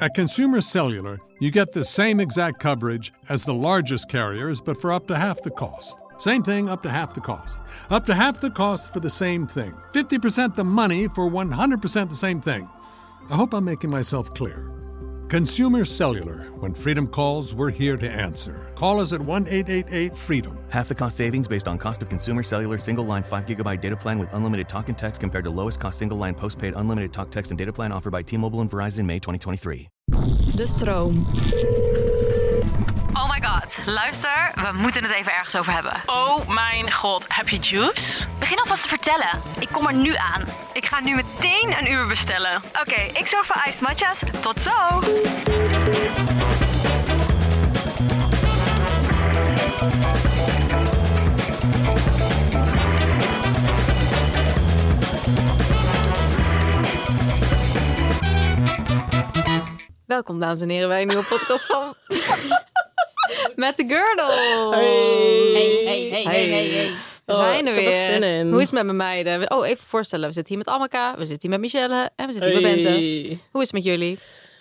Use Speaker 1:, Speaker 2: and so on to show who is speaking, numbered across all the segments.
Speaker 1: At Consumer Cellular, you get the same exact coverage as the largest carriers, but for up to half the cost. Same thing, up to half the cost. Up to half the cost for the same thing. 50% the money for 100% the same thing. I hope I'm making myself clear. Consumer Cellular. When freedom calls, we're here to answer. Call us at 1 888 freedom.
Speaker 2: Half the cost savings based on cost of consumer cellular single line 5 gigabyte data plan with unlimited talk and text compared to lowest cost single line postpaid unlimited talk text and data plan offered by T-Mobile and Verizon May 2023.
Speaker 3: De stroom.
Speaker 4: Oh my god, luister, we moeten het even ergens over hebben.
Speaker 5: Oh mijn god, heb je juice?
Speaker 4: Begin alvast te vertellen. Ik kom er nu aan. Ik ga nu meteen een uur bestellen. Oké, ik zorg voor ijs matcha's. Tot zo!
Speaker 3: Welkom, dames en heren, bij een nieuwe podcast van... Met de girdle.
Speaker 6: Hey, hey, hey, hey, hey, hey.
Speaker 3: We
Speaker 6: Oh,
Speaker 3: zijn er
Speaker 6: ik
Speaker 3: weer.
Speaker 6: heb er zin in.
Speaker 3: Hoe is het met mijn meiden? We- Oh, even voorstellen. We zitten hier met Amaka, we zitten hier met Michelle en we zitten hier met Bente.
Speaker 6: Hey.
Speaker 3: Hoe is het met jullie?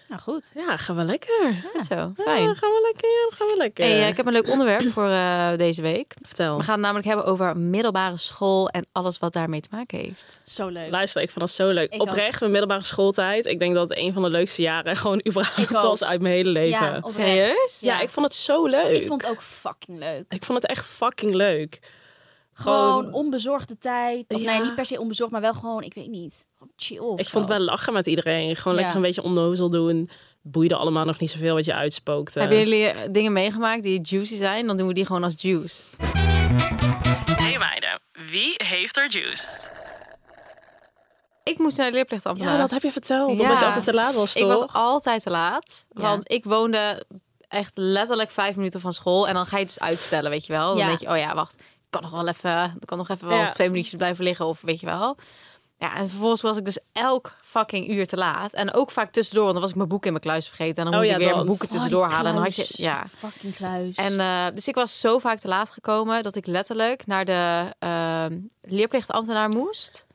Speaker 6: Nou goed. Ja, gaan we lekker.
Speaker 3: Goed zo,
Speaker 6: Ja,
Speaker 3: fijn.
Speaker 6: gaan we lekker, ja, gaan we lekker.
Speaker 3: Hey, eh, ik heb een leuk onderwerp voor eh, deze week.
Speaker 7: Vertel.
Speaker 3: We gaan het namelijk hebben over middelbare school en alles wat daarmee te maken heeft.
Speaker 7: Zo leuk.
Speaker 6: Luister, ik vond dat zo leuk.
Speaker 7: Ik
Speaker 6: Oprecht, mijn middelbare schooltijd. Ik denk dat het een van de leukste jaren gewoon überhaupt
Speaker 7: Ik ook.
Speaker 6: was uit mijn hele leven.
Speaker 7: Ja,
Speaker 6: Ja,
Speaker 7: oprecht.
Speaker 3: Serieus?
Speaker 7: Ja,
Speaker 6: ik vond het zo leuk.
Speaker 7: ik vond het ook fucking leuk.
Speaker 6: Ik vond het echt fucking leuk.
Speaker 7: Gewoon,
Speaker 6: Gewoon,
Speaker 7: onbezorgde tijd. Of
Speaker 6: Ja.
Speaker 7: nee, niet per se onbezorgd, maar wel gewoon, ik weet niet. Gewoon chill. of
Speaker 6: ik
Speaker 7: zo.
Speaker 6: vond het wel lachen met iedereen. Gewoon
Speaker 7: Ja.
Speaker 6: lekker een beetje onnozel doen. Boeide allemaal nog niet zoveel wat je uitspookte.
Speaker 3: Hebben jullie eh, dingen meegemaakt die juicy zijn? Dan doen we die gewoon als juice.
Speaker 6: Hey meiden, wie heeft er juice?
Speaker 3: Ik moest naar de leerplichtambtenaar.
Speaker 6: Ja, dat heb je verteld. Omdat
Speaker 3: Ja.
Speaker 6: je altijd te laat was,
Speaker 3: Ik
Speaker 6: toch?
Speaker 3: was altijd te laat, want ik woonde echt letterlijk vijf minuten van school. En dan ga je dus uitstellen, weet je wel. Dan
Speaker 7: Ja.
Speaker 3: denk je, oh ja, wacht, ik kan nog wel even, ik kan nog even wel
Speaker 6: Ja.
Speaker 3: twee minuutjes blijven liggen of weet je wel. Ja, en vervolgens was ik dus elk fucking uur te laat. En ook vaak tussendoor, want dan was ik mijn boek in mijn kluis vergeten. En dan
Speaker 6: Oh
Speaker 3: moest
Speaker 6: ja,
Speaker 3: ik weer
Speaker 6: dat.
Speaker 3: mijn boeken
Speaker 6: Oh,
Speaker 7: Oh, die
Speaker 3: tussendoor halen. En dan had je,
Speaker 7: kluis.
Speaker 3: ja.
Speaker 7: Fucking kluis.
Speaker 3: En eh, dus ik was zo vaak te laat gekomen dat ik letterlijk naar de ehm, leerplichtambtenaar moest.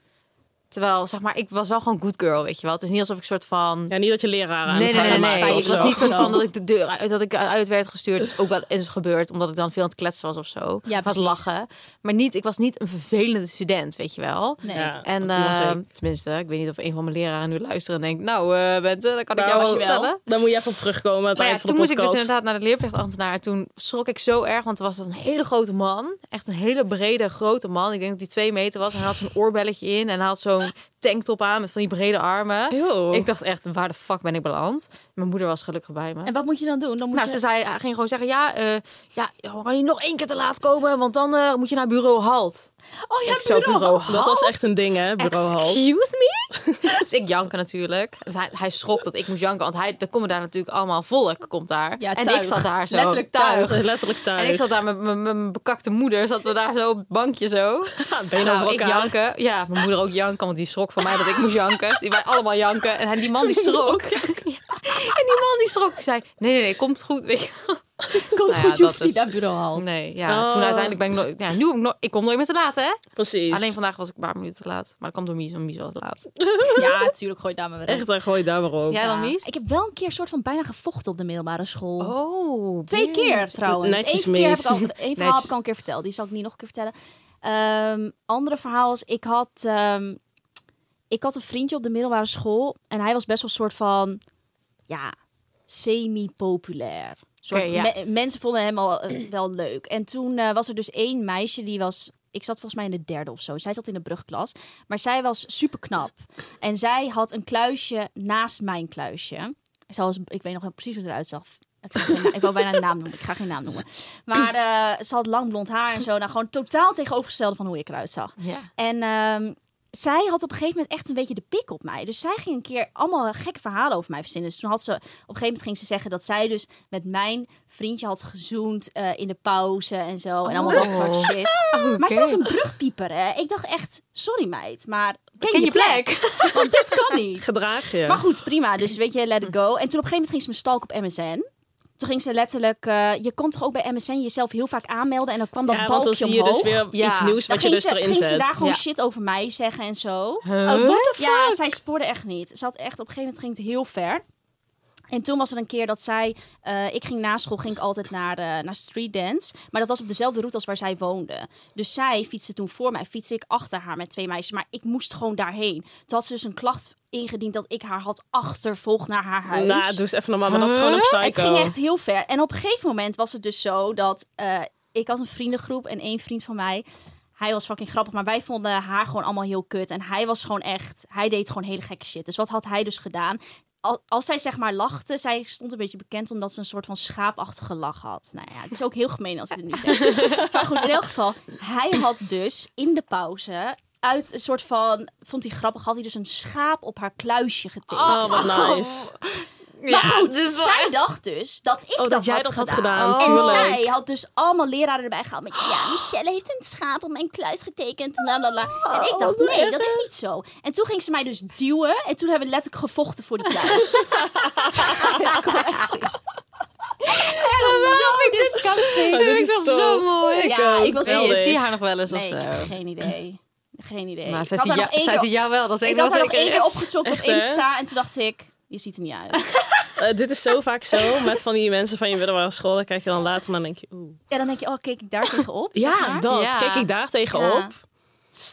Speaker 3: Terwijl, zeg maar, ik was wel gewoon good girl, weet je wel. Het is niet alsof ik soort van
Speaker 6: Ja, niet dat je leraar aan
Speaker 3: Nee,
Speaker 6: het
Speaker 3: nee,
Speaker 6: gaan
Speaker 3: nee, nee.
Speaker 6: maken
Speaker 3: Het
Speaker 6: of
Speaker 3: was
Speaker 6: zo.
Speaker 3: niet zo van dat ik de deur uit, dat ik uit werd gestuurd. Dat is ook wel eens gebeurd, omdat ik dan veel aan het kletsen was of zo.
Speaker 7: Ja,
Speaker 3: was
Speaker 7: precies.
Speaker 3: lachen. Maar niet, ik was niet een vervelende student, weet je wel.
Speaker 7: nee.
Speaker 6: Ja,
Speaker 3: En
Speaker 6: die was
Speaker 3: eh,
Speaker 6: ik.
Speaker 3: tenminste, ik weet niet of een van mijn leraren nu luisteren en denkt... Nou, eh Bente, dan kan ik jou
Speaker 6: Nou,
Speaker 3: wel
Speaker 7: dankjewel.
Speaker 3: vertellen.
Speaker 6: Dan moet je even op terugkomen aan het
Speaker 3: Maar ja,
Speaker 6: eind van
Speaker 3: toen
Speaker 6: de
Speaker 3: moest ik dus
Speaker 6: podcast.
Speaker 3: inderdaad naar de leerplichtambtenaar. En Toen schrok ik zo erg, want er was een hele grote man. Echt een hele brede, grote man. Ik denk dat hij twee meter was. En hij had zo'n oorbelletje in en hij had zo'n tanktop aan met van die brede armen.
Speaker 6: Eeuw.
Speaker 3: Ik dacht echt, waar de fuck ben ik beland? Mijn moeder was gelukkig bij me.
Speaker 7: En wat moet je dan doen? Dan moet
Speaker 3: Nou,
Speaker 7: je...
Speaker 3: ze zei, hij ging gewoon zeggen, ja, eh ja, dan kan je nog één keer te laat komen, want dan eh, moet je naar bureau Halt.
Speaker 7: Oh, ja,
Speaker 3: ik zo, bureau Halt?
Speaker 6: Dat was echt een ding, hè, bureau Hal.
Speaker 3: Excuse me? dus ik janken natuurlijk. Dus hij, hij schrok dat ik moest janken, want hij, er komen daar natuurlijk allemaal volk, komt daar.
Speaker 7: Ja,
Speaker 3: en
Speaker 7: tuig.
Speaker 3: ik zat daar zo.
Speaker 7: Letterlijk tuig.
Speaker 6: Letterlijk thuis.
Speaker 3: En ik zat daar met mijn- mijn mijn bekakte moeder, zaten we daar zo op het bankje zo.
Speaker 6: Ha, benen
Speaker 3: Nou,
Speaker 6: over
Speaker 3: ik
Speaker 6: elkaar.
Speaker 3: janken. Ja, mijn moeder ook janken, want die schrok van mij dat ik moest janken. Die wij allemaal janken. En hij- die man die
Speaker 6: Ze moeder
Speaker 3: schrok.
Speaker 6: ook
Speaker 3: Ja. En die man die schrok, die zei, nee, nee, nee, komt goed. Weet je wel.
Speaker 7: Komt
Speaker 3: Nou ja,
Speaker 7: goed, je hoeft
Speaker 3: dat
Speaker 7: niet
Speaker 3: is-
Speaker 7: naar bureau halen.
Speaker 3: Nee, ja,
Speaker 6: Oh.
Speaker 3: toen uiteindelijk ben ik nooit... Ja, nu heb ik nooit... Ik kom nooit meer te laat, hè?
Speaker 6: Precies.
Speaker 3: Alleen vandaag was ik een paar minuten te laat. Maar dat kwam door Mies, want Mies was te laat.
Speaker 7: Ja, natuurlijk, gooi daar maar weer op.
Speaker 6: Echt, daar gooi daar maar op.
Speaker 3: Jij dan,
Speaker 7: Ja.
Speaker 3: Mies?
Speaker 7: Ik heb wel een keer soort van bijna gevochten op de middelbare school.
Speaker 3: Oh,
Speaker 7: Twee keer trouwens.
Speaker 6: Netjes,
Speaker 7: Eén keer heb ik
Speaker 6: mis.
Speaker 7: al, één verhaal heb
Speaker 3: Netjes.
Speaker 7: ik al een keer verteld. Die zal ik niet nog een keer vertellen. Ehm andere verhaal was, ik had, ehm, ik had een vriendje op de middelbare school. En hij was best wel een soort van, ja, semi-populair. Soort-
Speaker 3: Oké, ja.
Speaker 7: me- mensen vonden hem al eh, wel leuk. En toen eh, was er dus één meisje die was... Ik zat volgens mij in de derde of zo. Zij zat in de brugklas. Maar zij was super knap. En zij had een kluisje naast mijn kluisje. Zoals, ik weet nog wel precies hoe het eruit zag. Ik, ga geen na- ik wil bijna een naam noemen. Ik ga geen naam noemen. Maar eh, ze had lang blond haar en zo. Nou, gewoon totaal tegenovergestelde van hoe ik eruit zag.
Speaker 3: Ja.
Speaker 7: En ehm, zij had op een gegeven moment echt een beetje de pik op mij. Dus zij ging een keer allemaal gekke verhalen over mij verzinnen. Dus toen had ze, op een gegeven moment ging ze zeggen dat zij dus met mijn vriendje had gezoend eh, in de pauze en zo. En allemaal dat soort
Speaker 6: Oh.
Speaker 7: shit. Maar ze was een brugpieper, hè. Ik dacht echt, sorry meid, maar ken,
Speaker 3: Ken
Speaker 7: je
Speaker 3: je
Speaker 7: plek?
Speaker 3: plek?
Speaker 7: Want dit kan niet.
Speaker 6: Gedraag je.
Speaker 7: Maar goed, prima. Dus weet je, let it go. En toen op een gegeven moment ging ze me stalken op MSN. Toen ging ze letterlijk... eh, je kon toch ook bij MSN jezelf heel vaak aanmelden... en dan kwam dat
Speaker 6: ja, want
Speaker 7: balkje
Speaker 6: dan
Speaker 7: omhoog.
Speaker 6: zie je dus weer
Speaker 3: Ja.
Speaker 6: iets nieuws
Speaker 7: Dan
Speaker 6: wat je
Speaker 7: ging
Speaker 6: dus
Speaker 7: ze,
Speaker 6: erin
Speaker 7: ging ze
Speaker 6: zet.
Speaker 7: daar gewoon
Speaker 3: Ja.
Speaker 7: shit over mij zeggen en zo.
Speaker 6: Oh, what the fuck?
Speaker 7: Ja, zij spoorde echt niet. Ze had echt... Op een gegeven moment ging het heel ver. En toen was er een keer dat zij, eh, ik ging na school ging ik altijd naar, eh, naar street dance, maar dat was op dezelfde route als waar zij woonde. Dus zij fietste toen voor mij, fietste ik achter haar met twee meisjes, maar ik moest gewoon daarheen. Toen had ze dus een klacht ingediend dat ik haar had achtervolgd naar haar huis.
Speaker 6: Nou, doe eens even normaal, maar dat is gewoon een psycho.
Speaker 7: Het ging echt heel ver. En op een gegeven moment was het dus zo dat eh, ik had een vriendengroep en één vriend van mij. Hij was fucking grappig, maar wij vonden haar gewoon allemaal heel kut. En hij was gewoon echt, hij deed gewoon hele gekke shit. Dus wat had hij dus gedaan? Al- Als zij zeg maar lachte, zij stond een beetje bekend omdat ze een soort van schaapachtige lach had. Nou ja, het is ook heel gemeen als ik het nu zeg. Maar goed, in elk geval, hij had dus in de pauze uit een soort van, vond hij grappig, had hij dus een schaap op haar kluisje getikt.
Speaker 6: Oh, wat nice.
Speaker 7: Maar goed,
Speaker 3: dit is wel
Speaker 7: zij
Speaker 3: echt-
Speaker 7: dacht dus dat ik
Speaker 6: dat
Speaker 7: dat
Speaker 6: jij
Speaker 7: had
Speaker 6: dat had
Speaker 7: gedaan.
Speaker 6: gedaan,
Speaker 7: En
Speaker 6: tuurlijk.
Speaker 7: zij had dus allemaal leraren erbij gehaald. Met, ja, Michelle heeft een schaap op mijn kluis getekend. La, la, la. En ik dacht, Oh, nee, dat is niet zo. En toen ging ze mij dus duwen. En toen hebben we letterlijk gevochten voor die kluis. Dat kwam echt goed. Echt zo disgusting.
Speaker 6: dit
Speaker 3: vind ik
Speaker 6: is
Speaker 3: dat
Speaker 6: toch-
Speaker 3: zo mooi.
Speaker 6: Ik
Speaker 7: Ja,
Speaker 6: ook.
Speaker 7: ik was-
Speaker 3: Zie je-
Speaker 6: Geweldig.
Speaker 3: zie je haar nog wel eens of
Speaker 7: eh, Nee,
Speaker 3: zo?
Speaker 7: ik heb geen idee. Geen idee.
Speaker 3: Maar
Speaker 7: Ik
Speaker 3: zij
Speaker 7: had haar
Speaker 3: ziet jou,
Speaker 7: nog één
Speaker 3: zij
Speaker 7: keer-
Speaker 3: ziet jou wel. Dat is
Speaker 7: Ik
Speaker 3: één
Speaker 7: had haar
Speaker 3: ding
Speaker 7: nog
Speaker 3: wat
Speaker 7: één
Speaker 3: zeker
Speaker 7: keer
Speaker 3: is.
Speaker 7: opgezocht op
Speaker 6: Echt, hè?
Speaker 7: Insta. En toen dacht ik, je ziet er niet uit.
Speaker 6: Eh, dit is zo vaak zo met van die mensen van je middelbare school. Dan kijk je dan later en dan denk je, oeh.
Speaker 7: Ja, dan denk je, oh, keek ik daar tegenop? zeg
Speaker 6: Ja,
Speaker 7: maar.
Speaker 6: dat.
Speaker 3: Ja.
Speaker 6: Kijk ik daar tegenop.
Speaker 7: Ja.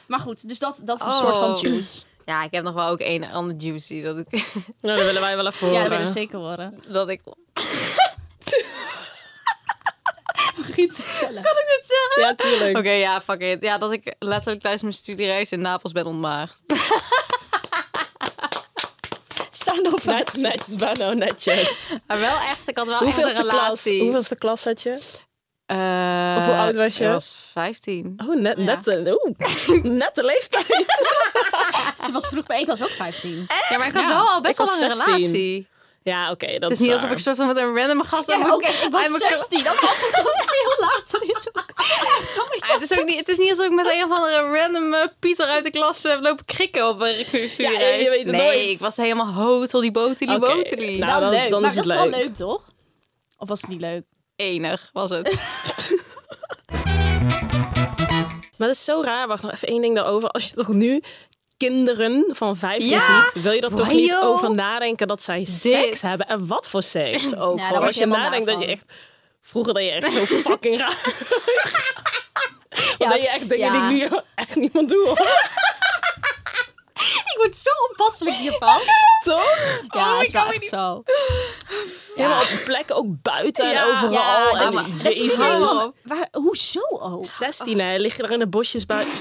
Speaker 7: Maar goed, dus dat, dat is een
Speaker 3: Oh.
Speaker 7: soort van juice.
Speaker 3: Ja, ik heb nog wel ook één ander juicy. Dat ik...
Speaker 6: Nou, dat willen wij wel even horen.
Speaker 7: Ja, dat willen we zeker worden.
Speaker 3: Dat ik...
Speaker 7: Giet te vertellen.
Speaker 6: Ja, tuurlijk.
Speaker 7: Oh,
Speaker 3: Oké, ja, fuck it. Ja, dat ik letterlijk tijdens mijn studiereis in Napels ben ontmaagd.
Speaker 7: Staan op
Speaker 6: Net, net, maar nou netjes.
Speaker 3: Maar wel echt, ik had wel
Speaker 6: Hoeveel is
Speaker 3: echt een
Speaker 6: de klas?
Speaker 3: relatie.
Speaker 6: Hoeveel is de klas had je?
Speaker 3: Eh,
Speaker 6: Of hoe oud was je?
Speaker 3: Ik was 15.
Speaker 6: Oh, net, net, de, oeh, net de leeftijd.
Speaker 7: Ze was vroeg bij, ik was ook 15.
Speaker 3: Ja, maar ik had wel al best
Speaker 6: Ik
Speaker 3: wel
Speaker 6: was
Speaker 3: lang een
Speaker 6: 16.
Speaker 3: relatie.
Speaker 6: Ja, oké, dat
Speaker 3: Het is
Speaker 6: is
Speaker 3: niet
Speaker 6: waar.
Speaker 3: alsof ik soort van met een random gast... aan
Speaker 7: Ja,
Speaker 3: mijn-
Speaker 7: oké, ik was
Speaker 3: aan mijn kla-
Speaker 7: 16. Dat was het toch veel later is ook. Sorry, ik
Speaker 3: Ah, het,
Speaker 7: was
Speaker 3: is ook niet, het is niet alsof ik met een of andere random eh, Pieter uit de klas heb lopen krikken op een
Speaker 6: Ja, je
Speaker 3: studiereis.
Speaker 6: weet het
Speaker 3: nee,
Speaker 6: nooit.
Speaker 3: ik was helemaal hotel die botelie
Speaker 6: Oké,
Speaker 3: botelie.
Speaker 7: 16.
Speaker 6: nou, dan-
Speaker 7: Wel leuk,
Speaker 6: dan
Speaker 7: maar
Speaker 6: is
Speaker 7: dat
Speaker 6: het
Speaker 7: is wel
Speaker 6: leuk.
Speaker 7: leuk, toch? Of was het niet leuk?
Speaker 3: Enig was het.
Speaker 6: Maar dat is zo raar. Wacht nog even één ding daarover. Als je toch nu kinderen van 15
Speaker 3: Ja.
Speaker 6: ziet, wil je er toch
Speaker 3: Wow.
Speaker 6: niet over nadenken dat zij seks hebben? En wat voor seks ook.
Speaker 7: daar
Speaker 6: gewoon.
Speaker 7: word
Speaker 6: als
Speaker 7: je
Speaker 6: je
Speaker 7: helemaal
Speaker 6: nadenkt
Speaker 7: naar
Speaker 6: dat je
Speaker 7: van.
Speaker 6: echt... Vroeger dat je echt zo fucking raar. Ja, dat je echt dingen
Speaker 7: ja.
Speaker 6: die ik nu echt niemand doe. hoor.
Speaker 7: Ik word zo onpasselijk
Speaker 6: Oh
Speaker 7: hiervan.
Speaker 6: Toch?
Speaker 7: Ja, is wel echt zo.
Speaker 6: Helemaal op plekken, ook buiten en
Speaker 3: Ja.
Speaker 6: overal.
Speaker 7: Ja,
Speaker 6: Oh, en
Speaker 7: dat
Speaker 3: je-
Speaker 7: Dat je
Speaker 6: Jezus.
Speaker 7: denkt
Speaker 3: Jezus.
Speaker 7: van, waar, hoezo ook?
Speaker 6: 16 hè, lig je daar in de bosjes buiten.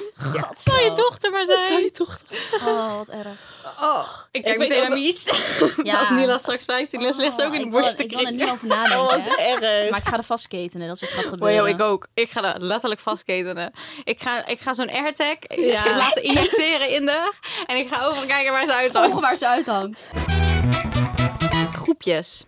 Speaker 3: Zou je dochter maar zijn?
Speaker 6: Zou je toch...
Speaker 7: Oh, wat erg.
Speaker 3: Ik kijk
Speaker 6: Ik weet
Speaker 3: meteen
Speaker 6: ook
Speaker 3: naar Mies.
Speaker 7: Ja.
Speaker 3: Als Nila straks 15 is, ligt ze ook in de
Speaker 7: Ik
Speaker 3: bosje
Speaker 7: wil-
Speaker 3: te
Speaker 7: Ik wil er
Speaker 3: krikken.
Speaker 7: niet over nadenken. hè.
Speaker 6: Oh, Erg.
Speaker 7: Maar ik ga er vastketenen, dat is wat gaat
Speaker 3: Oh,
Speaker 7: gebeuren.
Speaker 3: joh, ik ook. Ik ga er letterlijk vastketenen. Ik ga, ik ga zo'n AirTag
Speaker 6: Ja.
Speaker 3: laten injecteren in de... En ik ga overal kijken waar ze uit
Speaker 7: Volgen waar ze uithangt.
Speaker 3: groepjes.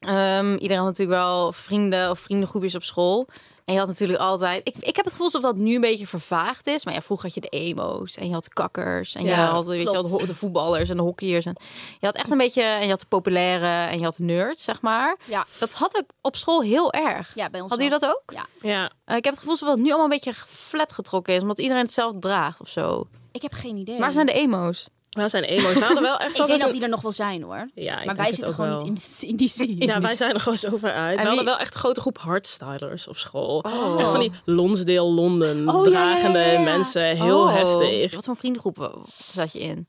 Speaker 3: Ehm, iedereen had natuurlijk wel vrienden of vriendengroepjes op school. En je had natuurlijk altijd... Ik, ik heb het gevoel alsof dat nu een beetje vervaagd is. Maar ja, vroeger had je de emo's en je had de kakkers. En je
Speaker 6: Ja,
Speaker 3: had weet je, wel, de,
Speaker 7: klopt.
Speaker 3: ho- de voetballers en de hockeyers. En je had echt een beetje... En je had de populaire en je had de nerds, zeg maar.
Speaker 7: Ja.
Speaker 3: Dat had ik op school heel erg.
Speaker 7: Ja, bij ons
Speaker 3: Hadden
Speaker 7: wel.
Speaker 3: jullie dat ook?
Speaker 7: Ja.
Speaker 6: Ja.
Speaker 3: Eh, ik heb het gevoel alsof dat nu allemaal een beetje flat getrokken is. Omdat iedereen hetzelfde draagt of zo.
Speaker 7: Ik heb geen idee.
Speaker 3: Waar zijn de E emo's?
Speaker 6: Waar zijn emo's? We hadden wel echt
Speaker 7: ik
Speaker 6: altijd
Speaker 7: denk dat
Speaker 6: een-
Speaker 7: die er nog wel zijn hoor.
Speaker 6: Ja, ik
Speaker 7: maar
Speaker 6: denk
Speaker 7: wij
Speaker 6: het
Speaker 7: zitten
Speaker 6: ook
Speaker 7: gewoon
Speaker 6: wel.
Speaker 7: niet in, die- in die scene.
Speaker 6: Ja, wij zijn er gewoon zo ver uit. We
Speaker 3: En
Speaker 6: hadden
Speaker 3: wie-
Speaker 6: wel echt een grote groep hardstylers op school. Echt van die Lonsdale Londen
Speaker 7: Oh, ja, ja, ja,
Speaker 6: dragende
Speaker 7: ja.
Speaker 6: mensen. Heel
Speaker 3: Oh,
Speaker 6: heftig.
Speaker 3: Wat voor vriendengroep zat je in?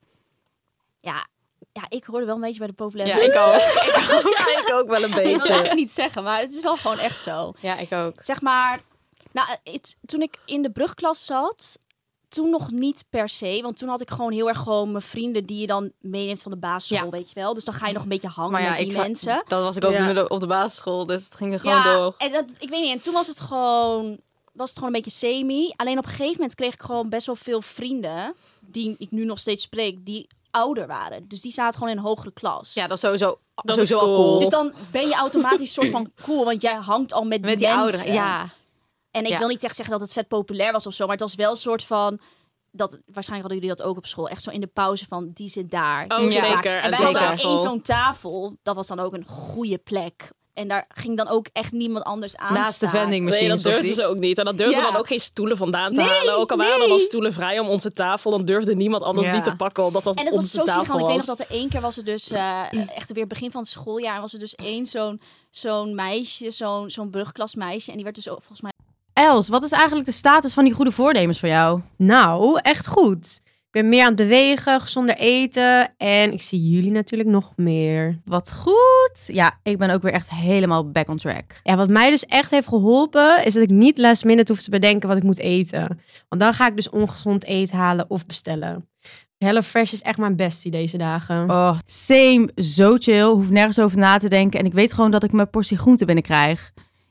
Speaker 7: Ja, ja, ik hoorde wel een beetje bij de populaire
Speaker 3: Ja,
Speaker 6: Dus-
Speaker 3: ik
Speaker 7: mensen.
Speaker 3: ook.
Speaker 6: Ja, ik ook wel een
Speaker 7: Ik wil eigenlijk niet zeggen, maar het is wel gewoon echt zo.
Speaker 3: Ja, ik ook.
Speaker 7: Zeg maar, nou, het- toen ik in de brugklas zat, toen nog niet per se. Want toen had ik gewoon heel erg gewoon mijn vrienden die je dan meeneemt van de basisschool,
Speaker 3: Ja.
Speaker 7: weet je wel. Dus dan ga je nog een beetje hangen
Speaker 3: Maar ja,
Speaker 7: met die
Speaker 3: ik zat-
Speaker 7: mensen.
Speaker 3: dat was ik ook
Speaker 6: Ja.
Speaker 3: op, de, op de basisschool, dus het ging er gewoon door.
Speaker 7: En dat, ik weet niet. En toen was het gewoon, was het gewoon een beetje semi. Alleen op een gegeven moment kreeg ik gewoon best wel veel vrienden die ik nu nog steeds spreek, die ouder waren. Dus die zaten gewoon in een hogere klas.
Speaker 3: Ja, dat is sowieso,
Speaker 6: Dat is
Speaker 3: sowieso al
Speaker 6: cool.
Speaker 3: cool.
Speaker 7: Dus dan ben je automatisch soort van cool, want jij hangt al met,
Speaker 3: met die
Speaker 7: mensen.
Speaker 3: ouderen, ja.
Speaker 7: En ik
Speaker 3: Ja.
Speaker 7: wil niet echt zeggen dat het vet populair was of zo, maar het was wel een soort van dat waarschijnlijk hadden jullie dat ook op school, echt zo in de pauze van die zit daar.
Speaker 6: Oh,
Speaker 7: die zit
Speaker 6: zeker.
Speaker 7: daar. En
Speaker 6: En
Speaker 7: wij
Speaker 3: zo'n
Speaker 7: hadden ook
Speaker 6: tafel.
Speaker 7: één zo'n tafel. Dat was dan ook een goede plek En daar ging dan ook echt niemand anders aan
Speaker 3: Naast de
Speaker 7: staan.
Speaker 6: Nee,
Speaker 3: vendingmachines.
Speaker 6: dat durfden
Speaker 3: was die.
Speaker 6: ze ook niet. En dat durfden
Speaker 7: Ja.
Speaker 6: we dan ook geen stoelen vandaan te
Speaker 7: Nee,
Speaker 6: halen. Ook al waren
Speaker 7: nee.
Speaker 6: er dan stoelen vrij om onze tafel, dan durfde niemand anders
Speaker 3: Ja.
Speaker 6: die te pakken, omdat dat
Speaker 7: En het was
Speaker 6: onze
Speaker 7: zo zielig,
Speaker 6: tafel
Speaker 7: want ik weet nog
Speaker 6: was.
Speaker 7: dat er één keer was er dus, eh, echt weer begin van het schooljaar, was er dus één zo'n zo'n meisje, zo'n zo'n brugklasmeisje. En die werd dus ook volgens mij
Speaker 8: Els, wat is eigenlijk de status van die goede voornemens voor jou?
Speaker 9: Nou, echt goed. Ik ben meer aan het bewegen, gezonder eten. En ik zie jullie natuurlijk nog meer.
Speaker 8: Wat goed. Ja, ik ben ook weer echt helemaal back on track.
Speaker 9: Ja, wat mij dus echt heeft geholpen, is dat ik niet last minute hoef te bedenken wat ik moet eten. Want dan ga ik dus ongezond eten halen of bestellen. HelloFresh is echt mijn bestie deze dagen.
Speaker 8: Oh, same. Zo chill. Hoef nergens over na te denken. En ik weet gewoon dat ik mijn portie groente binnenkrijg.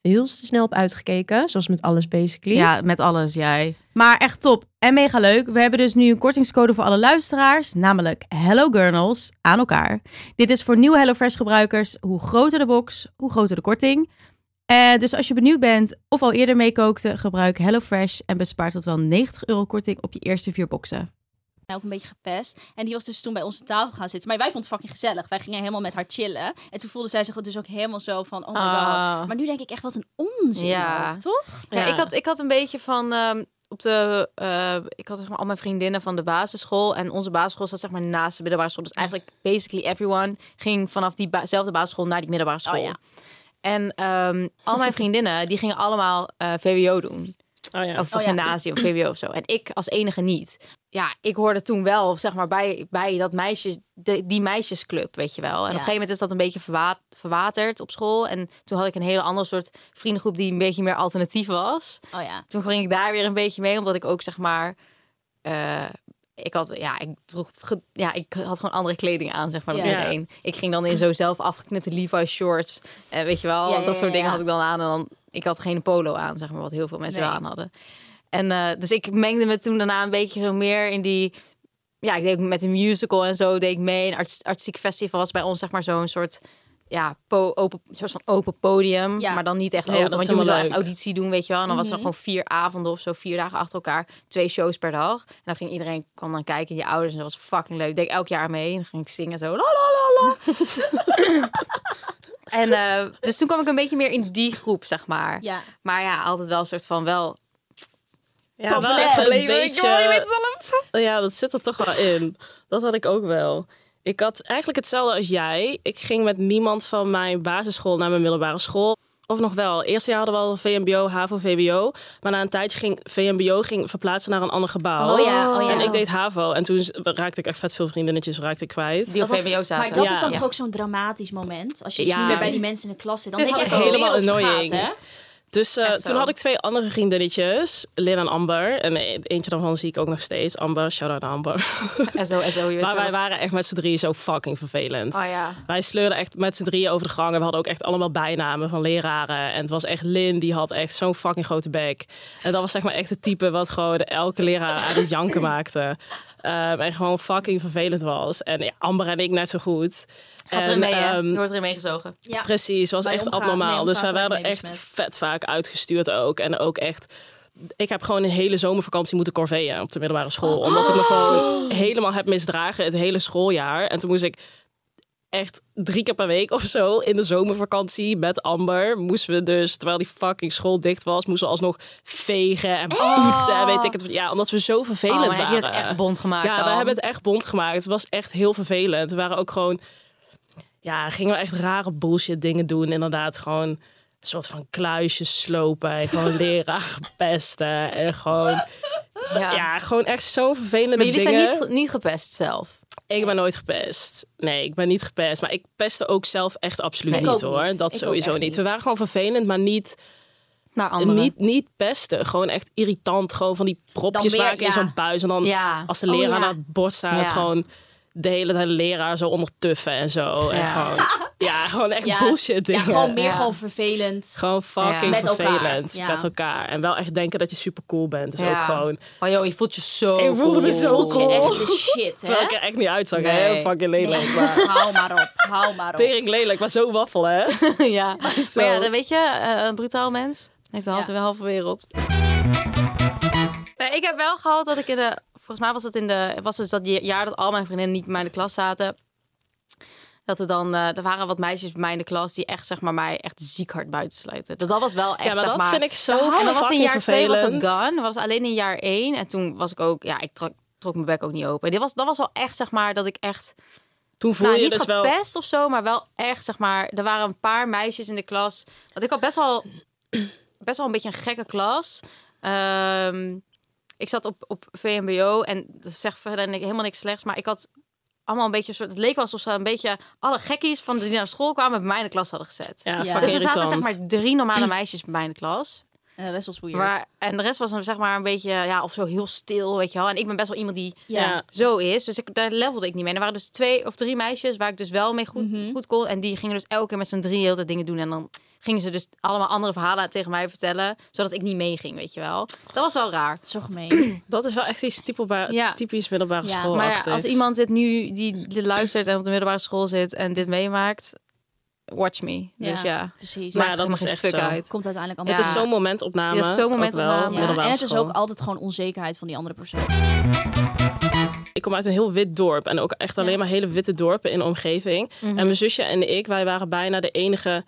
Speaker 9: heel te snel op uitgekeken. Zoals met alles basically.
Speaker 8: Ja, met alles jij. Maar echt top en mega leuk. We hebben dus nu een kortingscode voor alle luisteraars, namelijk Hello Gurnals aan elkaar. Dit is voor nieuwe HelloFresh gebruikers. Hoe groter de box, hoe groter de korting. Eh, dus als je benieuwd bent of al eerder meekookte, gebruik HelloFresh en bespaart tot wel 90 euro korting op je eerste vier boxen.
Speaker 7: ook een beetje gepest. En die was dus toen bij onze tafel gaan zitten. Maar wij vonden het fucking gezellig. Wij gingen helemaal met haar chillen. En toen voelde zij zich dus ook helemaal zo van, oh my
Speaker 3: Ah.
Speaker 7: god. Maar nu denk ik echt, wat een onzin
Speaker 3: Ja.
Speaker 7: ook, toch?
Speaker 3: Ja, ik, had, ik had een beetje van. ehm, op de, eh, ik had zeg maar al mijn vriendinnen van de basisschool. En onze basisschool zat zeg maar naast de middelbare school. Dus eigenlijk basically everyone ging vanaf diezelfde basisschool naar die middelbare school.
Speaker 7: ja.
Speaker 3: En ehm, al mijn vriendinnen die gingen allemaal eh, VWO doen.
Speaker 6: Oh ja.
Speaker 3: Of
Speaker 7: Oh ja.
Speaker 3: gymnasium, VWO of zo. En ik als enige niet. Ja, ik hoorde toen wel, zeg maar, bij, bij dat meisjes, de, die meisjesclub, weet je wel. En op een gegeven moment is dat een beetje verwa- verwaterd op school. En toen had ik een hele andere soort vriendengroep die een beetje meer alternatief was.
Speaker 7: Oh ja.
Speaker 3: Toen ging ik daar weer een beetje mee, omdat ik ook, zeg maar... eh, ik had, ja, ik droeg, ge- ja, ik had gewoon andere kleding aan, zeg maar, dan
Speaker 7: Ja.
Speaker 3: iedereen. Ik ging dan in zo zelf afgeknipte Levi's shorts. En weet je wel,
Speaker 7: Ja, ja,
Speaker 3: dat
Speaker 7: ja,
Speaker 3: soort dingen
Speaker 7: ja.
Speaker 3: had ik dan aan. En dan, ik had geen polo aan, zeg maar, wat heel veel mensen
Speaker 7: Nee.
Speaker 3: wel aan hadden. En eh, dus ik mengde me toen daarna een beetje zo meer in die... Ja, ik deed met de musical en zo deed ik mee. Een arts- artistiek festival was bij ons zeg maar zo'n soort... Ja, po- open, soort van open podium.
Speaker 7: Ja.
Speaker 3: Maar dan niet echt
Speaker 6: Ja, dat
Speaker 3: open,
Speaker 6: is
Speaker 3: want je moest wel
Speaker 6: helemaal
Speaker 3: echt
Speaker 6: leuk. Mhm.
Speaker 3: auditie doen, weet je wel. En dan was er gewoon vier avonden of zo, vier dagen achter elkaar. Twee shows per dag. En dan ging iedereen, kon dan kijken, je ouders. En dat was fucking leuk. Ik deed elk jaar mee. En dan ging ik zingen zo, la la la la. en eh, dus toen kwam ik een beetje meer in die groep, zeg maar.
Speaker 7: Ja.
Speaker 3: Maar ja, altijd wel een soort van wel...
Speaker 6: Ja,
Speaker 7: was
Speaker 6: wel echt
Speaker 7: echt
Speaker 6: een
Speaker 3: Ik wil je met
Speaker 6: beetje...
Speaker 3: zelf.
Speaker 6: Nou Ja, dat zit er toch wel in. Dat had ik ook wel. Ik had eigenlijk hetzelfde als jij. Ik ging met niemand van mijn basisschool naar mijn middelbare school. Of nog wel. Eerst jaar hadden we al VMBO, HAVO, VWO. Maar na een tijdje ging VMBO ging verplaatsen naar een ander gebouw.
Speaker 7: Oh ja, oh ja.
Speaker 6: En ik deed HAVO. En toen raakte ik echt vet veel vriendinnetjes raakte ik kwijt.
Speaker 3: Die
Speaker 7: Dat
Speaker 3: op
Speaker 7: was-
Speaker 3: VWO zaten.
Speaker 7: Maar dat
Speaker 6: Ja.
Speaker 7: is dan toch ook zo'n dramatisch moment? Als je
Speaker 6: Ja.
Speaker 7: dus niet meer bij die mensen in de klas zit. Dan
Speaker 6: Dit
Speaker 7: denk je echt
Speaker 6: had
Speaker 7: dat
Speaker 6: ik
Speaker 7: de
Speaker 6: helemaal
Speaker 7: wereld vergaat,
Speaker 6: annoying.
Speaker 7: hè?
Speaker 6: Dus eh,
Speaker 3: Echt zo.
Speaker 6: toen had ik twee andere vriendinnetjes. Lynn en Amber. En e- eentje daarvan zie ik ook nog steeds. Amber, shout-out aan Amber.
Speaker 3: SO, SO, je weet
Speaker 6: maar
Speaker 3: zelf.
Speaker 6: wij waren echt met z'n drieën zo fucking vervelend.
Speaker 3: Oh ja.
Speaker 6: Wij sleurden echt met z'n drieën over de gang. En we hadden ook echt allemaal bijnamen van leraren. En het was echt Lin, die had echt zo'n fucking grote bek. En dat was zeg maar echt het type wat gewoon de- elke leraar aan het janken maakte. Ehm, en gewoon fucking vervelend was. En ja, Amber en ik net zo goed.
Speaker 3: Gaat
Speaker 6: En,
Speaker 3: erin mee, hè?
Speaker 6: ehm,
Speaker 3: Je wordt erin meegezogen.
Speaker 7: Ja.
Speaker 6: Precies, was
Speaker 7: Wij
Speaker 6: echt
Speaker 7: omgaan-
Speaker 6: abnormaal.
Speaker 7: nee,
Speaker 6: dus wij
Speaker 7: omgaan
Speaker 6: werden
Speaker 7: vaak mee
Speaker 6: echt
Speaker 7: besmet.
Speaker 6: vet vaak uitgestuurd ook. En ook echt... Ik heb gewoon een hele zomervakantie moeten corveeën op de middelbare school.
Speaker 3: Oh.
Speaker 6: Omdat ik me gewoon helemaal heb misdragen het hele schooljaar. En toen moest ik echt drie keer per week of zo in de zomervakantie met Amber. Moesten we dus, terwijl die fucking school dicht was, moesten we alsnog vegen en poetsen. En weet ik het. Ja, omdat we zo
Speaker 3: Oh,
Speaker 6: vervelend
Speaker 3: maar
Speaker 6: waren.
Speaker 3: heb je het echt bond gemaakt
Speaker 6: Ja,
Speaker 3: dan?
Speaker 6: we hebben het echt bond gemaakt. Het was echt heel vervelend. We waren ook gewoon... Ja, gingen we echt rare bullshit dingen doen. Inderdaad, gewoon een soort van kluisjes slopen. En gewoon leraar pesten. En gewoon...
Speaker 3: Ja.
Speaker 6: Ja, gewoon echt zo vervelende
Speaker 3: Maar jullie
Speaker 6: dingen.
Speaker 3: zijn niet, niet gepest zelf.
Speaker 6: Ik ben nooit gepest. Nee, ik ben niet gepest. Maar ik pestte ook zelf echt absoluut
Speaker 7: Nee, ik
Speaker 6: niet
Speaker 7: ook
Speaker 6: hoor.
Speaker 7: niet. Ik
Speaker 6: Dat
Speaker 7: ook
Speaker 6: sowieso
Speaker 7: echt
Speaker 6: niet. We
Speaker 7: niet.
Speaker 6: waren gewoon vervelend, maar niet,
Speaker 3: Naar anderen.
Speaker 6: niet, niet pesten. Gewoon echt irritant. Gewoon van die propjes
Speaker 7: Dan weer,
Speaker 6: maken in
Speaker 7: ja.
Speaker 6: zo'n buis. En dan
Speaker 3: Ja.
Speaker 6: als de
Speaker 7: Oh,
Speaker 6: leraar
Speaker 7: ja.
Speaker 6: aan het bord staat,
Speaker 3: Ja.
Speaker 6: gewoon de hele tijd leraar zo onder tuffen en zo. En gewoon, ja, gewoon echt
Speaker 7: Ja,
Speaker 6: bullshit
Speaker 7: Ja,
Speaker 6: dingen.
Speaker 7: gewoon meer
Speaker 3: Ja.
Speaker 7: gewoon vervelend.
Speaker 6: Gewoon fucking
Speaker 3: Ja.
Speaker 7: Met elkaar,
Speaker 6: vervelend
Speaker 7: ja.
Speaker 6: met elkaar. En wel echt denken dat je super cool bent. Is
Speaker 3: Ja.
Speaker 6: ook gewoon...
Speaker 3: Oh joh, je voelt je zo
Speaker 6: Ik voelde me
Speaker 3: cool.
Speaker 6: zo
Speaker 7: Voelt je
Speaker 6: cool.
Speaker 7: echt de shit, hè?
Speaker 6: Terwijl ik er echt niet uitzag.
Speaker 3: Nee.
Speaker 6: Hè? Fucking lelijk.
Speaker 7: Nee,
Speaker 6: Maar...
Speaker 7: hou maar op, hou maar op.
Speaker 6: Tering lelijk, maar zo waffel, hè?
Speaker 3: ja.
Speaker 6: Zo.
Speaker 3: Maar ja, dan weet je, eh, een brutaal mens heeft de hand
Speaker 7: Ja.
Speaker 3: in de halve wereld. Nee, ik heb wel gehad dat ik in de... Volgens mij was het in de... was dus dat jaar dat al mijn vriendinnen niet bij mij in de klas zaten. Dat er dan... eh, er waren wat meisjes bij mij in de klas die echt, zeg maar, mij echt ziek hard buitensluiten. Dat, dat was wel echt,
Speaker 6: Ja, maar
Speaker 3: zeg
Speaker 6: dat
Speaker 3: maar...
Speaker 6: vind ik zo
Speaker 3: En dat was in
Speaker 6: fucking
Speaker 3: jaar twee was dat
Speaker 6: vervelend.
Speaker 3: gone. Dat was alleen in jaar één. En toen was ik ook... Ja, ik trok, trok mijn bek ook niet open. Dit was, dat was wel echt, zeg maar, dat ik echt...
Speaker 6: Toen voelde
Speaker 3: Nou,
Speaker 6: je
Speaker 3: niet
Speaker 6: dus wel...
Speaker 3: gepest of zo, maar wel echt, zeg maar... Er waren een paar meisjes in de klas. Want ik had best wel, best wel een beetje een gekke klas. Ehm, ik zat op, op VMBO en dat zegt verder ni- helemaal niks slechts. Maar ik had allemaal een beetje... een Soort, het leek wel alsof ze een beetje alle gekkies van die naar school kwamen... bij mij in de klas hadden gezet.
Speaker 6: Ja,
Speaker 7: Ja.
Speaker 6: fucking
Speaker 3: Dus er zaten zeg
Speaker 6: irritant.
Speaker 3: maar drie normale meisjes bij mij in de klas.
Speaker 7: Eh, dat is wel spoeier.
Speaker 3: Maar, en de rest was dan zeg maar een beetje, ja, of zo heel stil, weet je wel. En ik ben best wel iemand die
Speaker 6: Ja.
Speaker 3: zo is. Dus ik, daar levelde ik niet mee. En er waren dus twee of drie meisjes waar ik dus wel mee goed,
Speaker 6: Mhm.
Speaker 3: goed kon. En die gingen dus elke keer met z'n drieën heel tijd dingen doen. En dan gingen ze dus allemaal andere verhalen tegen mij vertellen. Zodat ik niet meeging, weet je wel. Dat was wel raar.
Speaker 7: Zo gemeen.
Speaker 6: Dat is wel echt iets typelba-
Speaker 3: Ja.
Speaker 6: typisch middelbare
Speaker 7: Ja.
Speaker 6: school.
Speaker 3: Maar ja, als iemand dit nu, die dit luistert en op de middelbare school zit en dit meemaakt... Watch me. Dus ja.
Speaker 7: Precies.
Speaker 6: Maar
Speaker 3: Maakt
Speaker 6: dat
Speaker 3: helemaal
Speaker 6: is
Speaker 3: geen
Speaker 6: echt
Speaker 3: fuck
Speaker 6: zo.
Speaker 3: uit.
Speaker 7: komt uiteindelijk allemaal
Speaker 6: Het
Speaker 3: Ja.
Speaker 6: is zo'n momentopname.
Speaker 3: Ja, zo'n
Speaker 6: ook wel,
Speaker 3: momentopname.
Speaker 7: Ja,
Speaker 6: middelbare
Speaker 7: en het is
Speaker 6: school.
Speaker 7: ook altijd gewoon onzekerheid van die andere persoon.
Speaker 6: Ik kom uit een heel wit dorp en ook echt alleen maar hele witte dorpen in de omgeving.
Speaker 3: Mhm.
Speaker 6: En mijn zusje en ik, wij waren bijna de enige,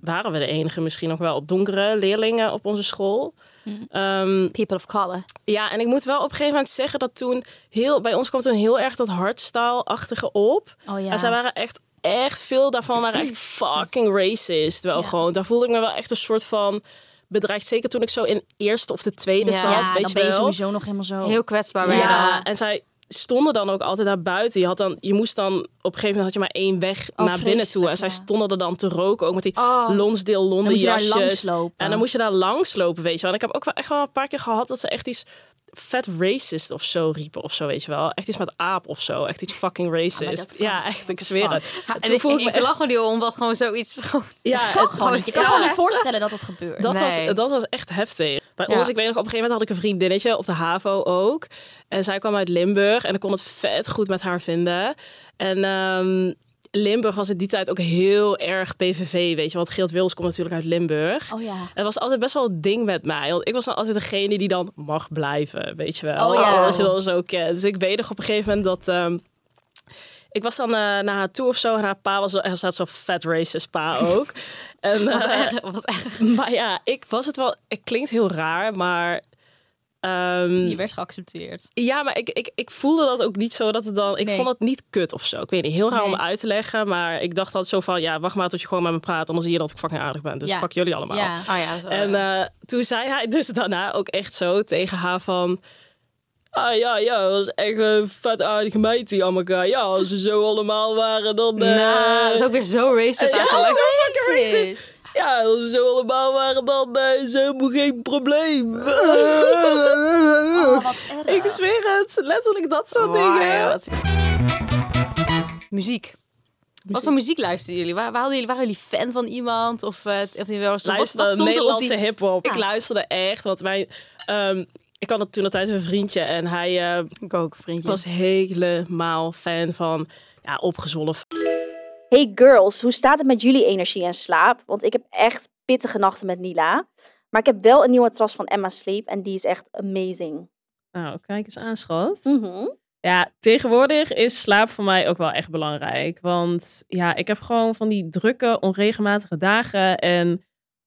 Speaker 6: waren we de enige misschien nog wel, donkere leerlingen op onze school. Ehm,
Speaker 3: People of color.
Speaker 6: ja, en ik moet wel op een gegeven moment zeggen dat toen heel, bij ons kwam toen heel erg dat hardstyle-achtige op.
Speaker 7: Oh ja.
Speaker 6: En zij waren echt, echt veel daarvan waren echt fucking racist. Wel gewoon, daar voelde ik me wel echt een soort van bedreigd. Zeker toen ik zo in eerste of de tweede
Speaker 3: Ja,
Speaker 6: zat,
Speaker 7: ja,
Speaker 6: weet
Speaker 7: dan
Speaker 6: je
Speaker 7: ben je
Speaker 6: wel.
Speaker 7: sowieso nog helemaal zo.
Speaker 3: Heel kwetsbaar ben je dan.
Speaker 6: Ja, en zij stonden dan ook altijd daar buiten. Je, had dan, je moest dan, op een gegeven moment had je maar één weg naar binnen toe. En
Speaker 7: vreselijk,
Speaker 6: zij
Speaker 7: ja.
Speaker 6: stonden er dan te roken, ook met die
Speaker 3: Oh.
Speaker 6: Lonsdale Londen
Speaker 7: moet je daar
Speaker 6: jasjes.
Speaker 7: langs lopen.
Speaker 6: En dan moest je daar langs lopen, weet je wel. En ik heb ook wel echt wel een paar keer gehad dat ze echt iets vet racist of zo riepen of zo, weet je wel. Echt iets met aap of zo. Echt iets fucking racist.
Speaker 7: dat kan
Speaker 6: ja, echt, ik zweer het.
Speaker 3: Ja, en
Speaker 6: Toen
Speaker 3: ik,
Speaker 6: voelde
Speaker 3: ik,
Speaker 6: ik me
Speaker 3: ik
Speaker 6: echt...
Speaker 3: lach er niet om, omdat gewoon zoiets... Gewoon,
Speaker 6: Ja,
Speaker 3: het kan
Speaker 6: het-
Speaker 3: gewoon
Speaker 7: Gewoon, je kan me niet
Speaker 3: zo.
Speaker 7: voorstellen dat dat gebeurt.
Speaker 6: Dat,
Speaker 3: Nee.
Speaker 6: was, dat was echt heftig. Bij
Speaker 3: Ja.
Speaker 6: ons, ik weet nog, op een gegeven moment had ik een vriendinnetje op de HAVO ook. En zij kwam uit Limburg en ik kon het vet goed met haar vinden. En ehm, Limburg was in die tijd ook heel erg PVV, weet je. Want Geert Wils komt natuurlijk uit Limburg.
Speaker 7: Oh ja.
Speaker 6: Het was altijd best wel een ding met mij. Want ik was dan altijd degene die dan mag blijven, weet je wel.
Speaker 7: Oh ja.
Speaker 6: Als je dat zo kent. Dus ik weet nog op een gegeven moment dat... ehm, ik was dan eh, naar haar toe of zo. En haar pa was... Hij zat zo'n fat racist pa ook. en,
Speaker 3: Wat
Speaker 6: eh,
Speaker 3: erg, wat erg.
Speaker 6: maar ja, ik was het wel. Het klinkt heel raar, maar. ehm,
Speaker 7: Je werd geaccepteerd.
Speaker 6: ja, maar ik, ik, ik voelde dat ook niet zo dat het dan. Ik
Speaker 7: Nee.
Speaker 6: vond het niet kut of zo. Ik weet niet, heel raar om uit te leggen. Maar ik dacht altijd zo van: ja, wacht maar tot je gewoon met me praat. Anders zie je dat ik fucking aardig ben. Dus
Speaker 7: Ja.
Speaker 6: fuck jullie allemaal.
Speaker 7: Ja.
Speaker 3: Oh ja, zo.
Speaker 6: En eh, toen zei hij dus daarna ook echt zo tegen haar van... Ah ja, ja, dat was echt een vet aardige meid die allemaal elkaar. Ja, als ze zo allemaal waren, dan... eh,
Speaker 3: Nou, dat is ook weer zo racist.
Speaker 6: ja,
Speaker 3: eigenlijk.
Speaker 6: zo fucking racist. Ja, als ze zo allemaal waren, dan eh, is helemaal geen probleem. ik zweer het. Letterlijk dat soort dingen.
Speaker 3: Wild. Muziek. Wat voor muziek luisterden jullie? Waar, waar hadden jullie? Waren jullie fan van iemand? Of, eh of niet wel? Wat-
Speaker 6: Luister,
Speaker 3: wat stond er op
Speaker 6: Nederlandse
Speaker 3: die...
Speaker 6: hiphop. Ik luisterde echt, want mijn... ehm, ik had toen altijd een vriendje en hij... eh,
Speaker 3: Ik ook, vriendje.
Speaker 6: was helemaal fan van ja, opgezwollen
Speaker 10: Hey girls, hoe staat het met jullie energie en slaap? Want ik heb echt pittige nachten met Nila. Maar ik heb wel een nieuwe tras van Emma Sleep en die is echt amazing.
Speaker 6: Nou, kijk eens aan, schat.
Speaker 10: Mhm.
Speaker 6: Ja, tegenwoordig is slaap voor mij ook wel echt belangrijk. Want ja, ik heb gewoon van die drukke, onregelmatige dagen. En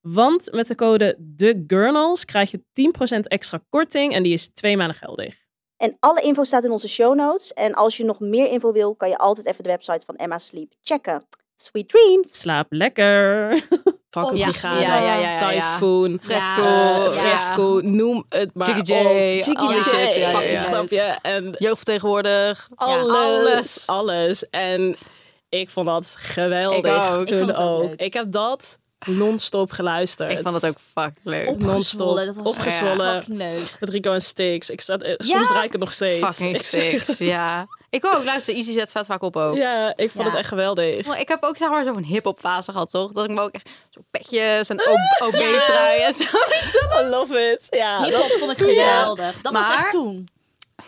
Speaker 6: Want met de code TheGurnals krijg je 10% extra korting en die is twee maanden geldig.
Speaker 10: En alle info staat in onze show notes. En als je nog meer info wil, kan je altijd even de website van Emma Sleep checken. Sweet dreams.
Speaker 6: Slaap lekker. Oh, Vakkenbrigade,
Speaker 3: ja, ja, ja, ja, ja.
Speaker 6: Typhoon,
Speaker 3: Fresco,
Speaker 6: eh,
Speaker 3: ja.
Speaker 6: Fresco, noem het maar
Speaker 3: Jiggy J,
Speaker 6: op. Jiggy
Speaker 3: al die
Speaker 6: J, Oh,
Speaker 3: shit, ja, ja,
Speaker 6: fucking
Speaker 3: ja.
Speaker 6: snap je? En
Speaker 3: Jeugdvertegenwoordig.
Speaker 6: alles,
Speaker 3: alles.
Speaker 6: alles. En ik vond dat geweldig
Speaker 3: Ik ook. Ik
Speaker 6: toen
Speaker 3: vond het
Speaker 6: ook.
Speaker 3: ook leuk.
Speaker 6: Ik heb dat non-stop geluisterd.
Speaker 3: Ik vond dat ook fuck leuk.
Speaker 6: non-stop
Speaker 7: Opgezwollen, dat was
Speaker 6: opgezwollen.
Speaker 7: fucking leuk.
Speaker 6: Met Rico en Stix. Ik zat, eh, soms
Speaker 7: Ja?
Speaker 6: draai ik het nog steeds.
Speaker 3: Fucking
Speaker 6: Ik zeg-
Speaker 3: six, ja. Ik ook, luister, Easy zet vet vaak op ook.
Speaker 6: Ja, ik vond
Speaker 7: Ja.
Speaker 6: het echt geweldig.
Speaker 3: Maar Ik heb ook zeg maar zo'n hip-hop fase gehad, toch? Dat ik me ook echt zo'n petjes en ob- OB-trui en zo.
Speaker 6: I love it. Ja, dat
Speaker 7: Hip-hop
Speaker 6: was
Speaker 7: vond ik
Speaker 6: toen, ja.
Speaker 7: geweldig. Dat was
Speaker 3: Maar-
Speaker 7: echt toen.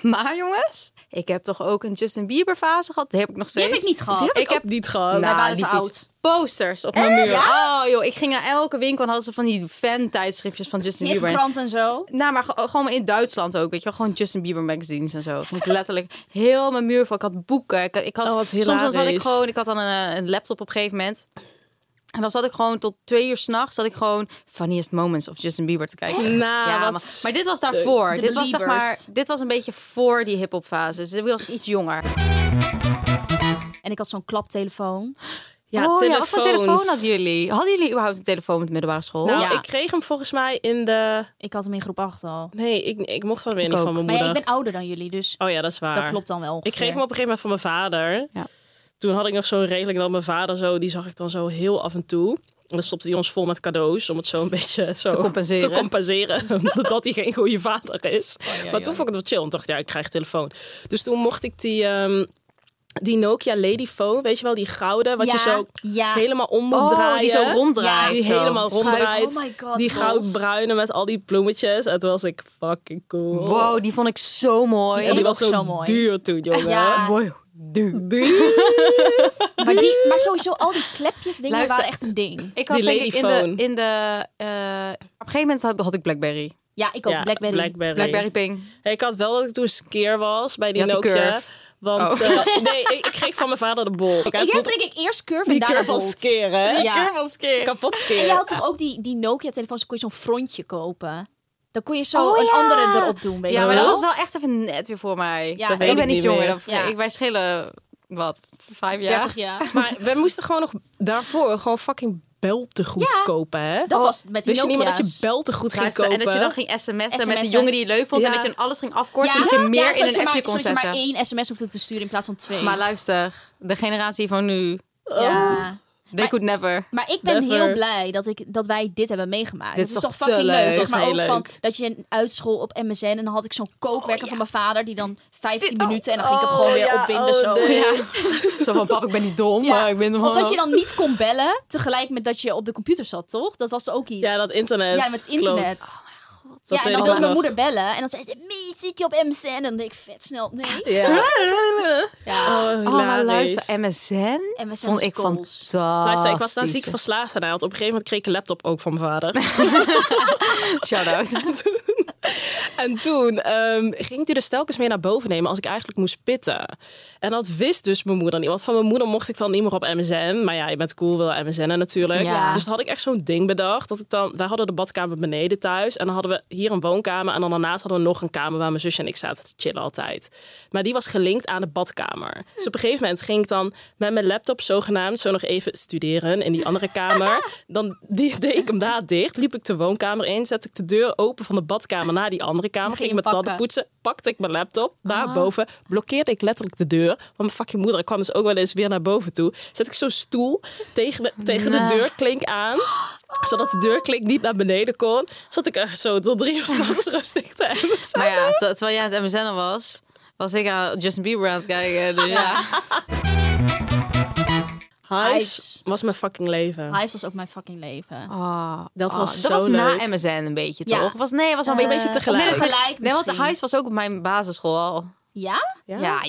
Speaker 3: Maar jongens, ik heb toch ook een Justin Bieber fase gehad? Die heb ik nog
Speaker 7: Die
Speaker 3: steeds.
Speaker 7: heb ik niet gehad.
Speaker 6: Die heb ik,
Speaker 3: Ik heb-
Speaker 6: ook niet gehad.
Speaker 3: Nou,
Speaker 7: waren
Speaker 3: die
Speaker 7: te
Speaker 3: vies-
Speaker 7: oud.
Speaker 3: Posters op mijn muur. Oh joh, ik ging naar elke winkel en hadden ze van die fan-tijdschriftjes van Justin
Speaker 7: Niet
Speaker 3: Bieber.
Speaker 7: krant en zo.
Speaker 3: Nou, maar ge- gewoon in Duitsland ook, weet je wel. Gewoon Justin Bieber magazines en zo. Ging ik letterlijk heel mijn muur van. Ik had boeken. Ik had, ik had,
Speaker 6: Oh, wat
Speaker 3: soms dan zat ik
Speaker 6: hilarisch.
Speaker 3: gewoon... Ik had dan een, eh, een laptop op een gegeven moment. En dan zat ik gewoon tot twee uur s'nachts... zat ik gewoon Funniest Moments of Justin Bieber te kijken.
Speaker 6: Nou,
Speaker 3: ja,
Speaker 6: wat
Speaker 3: maar, maar dit was daarvoor.
Speaker 7: de
Speaker 3: Dit was, zeg maar,
Speaker 7: Beliebers.
Speaker 3: dit was een beetje voor die hip-hop fase. Dus dit was ik iets jonger.
Speaker 7: En ik had zo'n klaptelefoon.
Speaker 6: Ja,
Speaker 3: oh, ja, wat voor telefoon
Speaker 6: telefoons.
Speaker 3: hadden jullie? Hadden jullie überhaupt een telefoon met middelbare school?
Speaker 6: Nou,
Speaker 7: Ja.
Speaker 6: ik kreeg hem volgens mij in de...
Speaker 7: Ik had hem in groep 8 al.
Speaker 6: Nee, ik, ik mocht dat weer niet
Speaker 3: ook.
Speaker 6: van mijn
Speaker 7: Maar ja,
Speaker 6: moeder.
Speaker 7: ik ben ouder dan jullie, dus
Speaker 6: Oh ja, dat is waar.
Speaker 7: dat klopt dan wel.
Speaker 6: Ik kreeg hem op een gegeven moment van mijn vader.
Speaker 3: Ja.
Speaker 6: Toen had ik nog zo'n redelijk dat mijn vader zo, die zag ik dan zo heel af en toe. En dan stopte hij ons vol met cadeaus om het zo een beetje zo te
Speaker 3: compenseren.
Speaker 6: Te compenseren dat hij geen goede vader is. maar toen vond ik het wel chill. En dacht, ja, ik krijg een telefoon. Dus toen mocht ik die, ehm, die Nokia Ladyphone, weet je wel, die gouden, wat
Speaker 7: Ja,
Speaker 6: je zo
Speaker 7: ja.
Speaker 6: helemaal om moet
Speaker 3: Oh,
Speaker 6: draaien.
Speaker 3: die zo ronddraait.
Speaker 6: Die
Speaker 3: zo.
Speaker 6: helemaal
Speaker 3: Schuif.
Speaker 6: ronddraait.
Speaker 7: Oh my God,
Speaker 6: die
Speaker 7: Ros.
Speaker 6: goudbruine met al die bloemetjes. En toen was ik fucking cool.
Speaker 3: Wow, die vond ik zo mooi.
Speaker 6: en die was
Speaker 7: ook
Speaker 6: zo
Speaker 7: zo mooi.
Speaker 6: duur toen, jongen.
Speaker 7: Ja.
Speaker 3: Mooi. Duur.
Speaker 6: Duur.
Speaker 7: Maar, die, maar sowieso al die klepjes dingen
Speaker 3: Luister.
Speaker 7: waren echt een ding.
Speaker 3: Ik had
Speaker 6: Die
Speaker 3: denk ik in de,
Speaker 6: ladyphone.
Speaker 3: in de eh, op een gegeven moment had, had ik Blackberry.
Speaker 7: Ja, ik ook.
Speaker 6: Ja,
Speaker 7: Blackberry.
Speaker 6: Blackberry.
Speaker 3: Blackberry Ping.
Speaker 6: Hey, ik had wel dat ik toen skeer was bij die
Speaker 3: Je had de
Speaker 6: Nokia.
Speaker 3: curve.
Speaker 6: Want
Speaker 3: Oh.
Speaker 6: eh, nee, ik, ik kreeg van mijn vader de bol. Ik,
Speaker 7: Ik heb denk ik eerst Curve en
Speaker 6: die
Speaker 7: daarna
Speaker 6: keer van
Speaker 7: Volt.
Speaker 6: skeer, hè?
Speaker 7: Ja.
Speaker 6: Kapot
Speaker 7: En je
Speaker 6: skeer.
Speaker 7: had
Speaker 3: Eh,
Speaker 7: toch ook die, die Nokia-telefoons, dan kon je zo'n frontje kopen. Dan kon je zo een andere erop doen, weet je
Speaker 3: Oh, Ja, maar
Speaker 7: wel.
Speaker 3: dat was wel echt even net weer voor mij.
Speaker 7: Ja, weet
Speaker 3: ik ben
Speaker 6: ik
Speaker 3: niet
Speaker 6: niet
Speaker 3: jonger.
Speaker 6: meer.
Speaker 3: Dan,
Speaker 7: Ja.
Speaker 3: ik, wij schelen, wat, vijf jaar?
Speaker 7: 30 jaar.
Speaker 6: Maar we moesten gewoon nog daarvoor gewoon fucking beltegoed
Speaker 7: Ja.
Speaker 6: kopen, hè?
Speaker 7: Dat was met die
Speaker 6: Wist je niet meer dat je
Speaker 7: Nokia's.
Speaker 6: beltegoed ging
Speaker 3: Luister,
Speaker 6: kopen?
Speaker 3: en dat je dan ging sms'en, met de
Speaker 7: SMS'en.
Speaker 3: jongen die je leuk vond. En
Speaker 6: Ja.
Speaker 3: dat je dan alles ging afkorten.
Speaker 7: Ja,
Speaker 3: zodat je meer
Speaker 7: ja,
Speaker 3: in
Speaker 7: zodat
Speaker 3: een
Speaker 7: je maar-
Speaker 3: appje kon
Speaker 7: zodat je
Speaker 3: zetten.
Speaker 7: maar één sms hoefde te sturen in plaats van twee.
Speaker 3: Maar luister, de generatie van nu,
Speaker 7: ja.
Speaker 3: they could never.
Speaker 7: Maar ik ben
Speaker 6: Never.
Speaker 7: heel blij dat, ik, dat wij dit hebben meegemaakt.
Speaker 3: Dit
Speaker 7: Dit
Speaker 3: is
Speaker 7: is,
Speaker 3: toch
Speaker 7: toch
Speaker 3: te
Speaker 7: fucking
Speaker 3: leuk.
Speaker 7: leuk.
Speaker 6: Dit
Speaker 7: Zeg
Speaker 6: is
Speaker 7: maar
Speaker 6: heel
Speaker 7: ook van
Speaker 6: leuk.
Speaker 7: dat je een uitschool op MSN en dan had ik zo'n kookwerker van mijn vader die dan 15
Speaker 3: oh.
Speaker 7: minuten en dan ging ik hem gewoon weer opwinden zo.
Speaker 3: Ja. Zo van, pap, ik ben niet dom,
Speaker 7: Ja.
Speaker 3: maar ik ben hem
Speaker 7: Of
Speaker 3: gewoon
Speaker 7: dat je dan niet kon bellen tegelijk met dat je op de computer zat, toch? Dat was ook iets.
Speaker 6: Ja, dat internet.
Speaker 7: Ja, met internet.
Speaker 6: Klopt.
Speaker 7: ja, en
Speaker 6: weet
Speaker 7: dan
Speaker 6: ik
Speaker 7: wilde
Speaker 6: nog.
Speaker 7: mijn moeder bellen en dan zei ze: "Mie, zit je op MSN? En dan deed ik vet snel: Nee.
Speaker 6: Ja.
Speaker 7: Ja.
Speaker 6: Oh,
Speaker 3: Oh, maar
Speaker 6: hilarisch.
Speaker 3: luister, MSN,
Speaker 7: MSN was
Speaker 3: vond ik
Speaker 7: goals.
Speaker 3: fantastisch.
Speaker 6: Luister, ik was daar ziek verslaafd aan. Want op een gegeven moment kreeg ik een laptop ook van mijn vader.
Speaker 3: Shout-out.
Speaker 6: En toen ehm, ging ik die dus telkens mee naar boven nemen als ik eigenlijk moest pitten. En dat wist dus mijn moeder niet. Want van mijn moeder mocht ik dan niet meer op MSN. Maar ja, je bent cool, wil MSN'en natuurlijk.
Speaker 3: Ja.
Speaker 6: Dus dan had ik echt zo'n ding bedacht. Dat ik dan, wij hadden de badkamer beneden thuis. En dan hadden we hier een woonkamer. En dan daarnaast hadden we nog een kamer waar mijn zusje en ik zaten te chillen altijd. Maar die was gelinkt aan de badkamer. Dus op een gegeven moment ging ik dan met mijn laptop zogenaamd zo nog even studeren in die andere kamer. Dan die, deed ik hem daar dicht. Liep ik de woonkamer in. Zette ik de deur open van de badkamer naar die andere kamer. Ging ik
Speaker 7: je
Speaker 6: mijn tanden
Speaker 7: pakken.
Speaker 6: poetsen. Pakte ik mijn laptop.
Speaker 3: Ah.
Speaker 6: Daarboven blokkeerde ik letterlijk de deur. Want mijn fucking moeder kwam dus ook wel eens weer naar boven toe. Zet ik zo'n stoel tegen de, tegen de deurklink aan. Zodat de deurklink niet naar beneden kon. Zat ik echt zo tot drie uur s'nachts rustig te hebben.
Speaker 3: Maar ja, ter- terwijl jij aan het MSN was, was ik aan Justin Bieber aan het kijken. Dus ja.
Speaker 6: Hives was mijn fucking leven.
Speaker 7: Hives was ook mijn fucking leven.
Speaker 3: Ah,
Speaker 6: Dat was
Speaker 3: ah,
Speaker 6: zo
Speaker 3: dat was na
Speaker 6: leuk.
Speaker 3: MSN een beetje,
Speaker 7: Ja.
Speaker 3: toch? Was, nee, het was al
Speaker 7: Eh,
Speaker 3: een beetje
Speaker 7: of
Speaker 3: tegelijk.
Speaker 7: tegelijk
Speaker 3: nee, want
Speaker 7: misschien.
Speaker 3: Hives was ook op mijn basisschool al.
Speaker 7: Ja?
Speaker 3: Ja.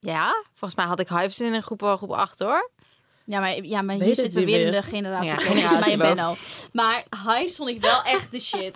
Speaker 3: ja. volgens mij had ik Hives in een groep, groep 8 hoor.
Speaker 7: Ja, maar, ja, maar
Speaker 6: Weet
Speaker 7: hier
Speaker 6: het
Speaker 7: zitten we
Speaker 6: niet
Speaker 7: weer in
Speaker 6: meer.
Speaker 7: de generatie.
Speaker 3: Ja,
Speaker 7: Ja,
Speaker 3: generatie
Speaker 7: mij en
Speaker 3: wel.
Speaker 7: Benno. Maar Hives vond ik wel echt de shit.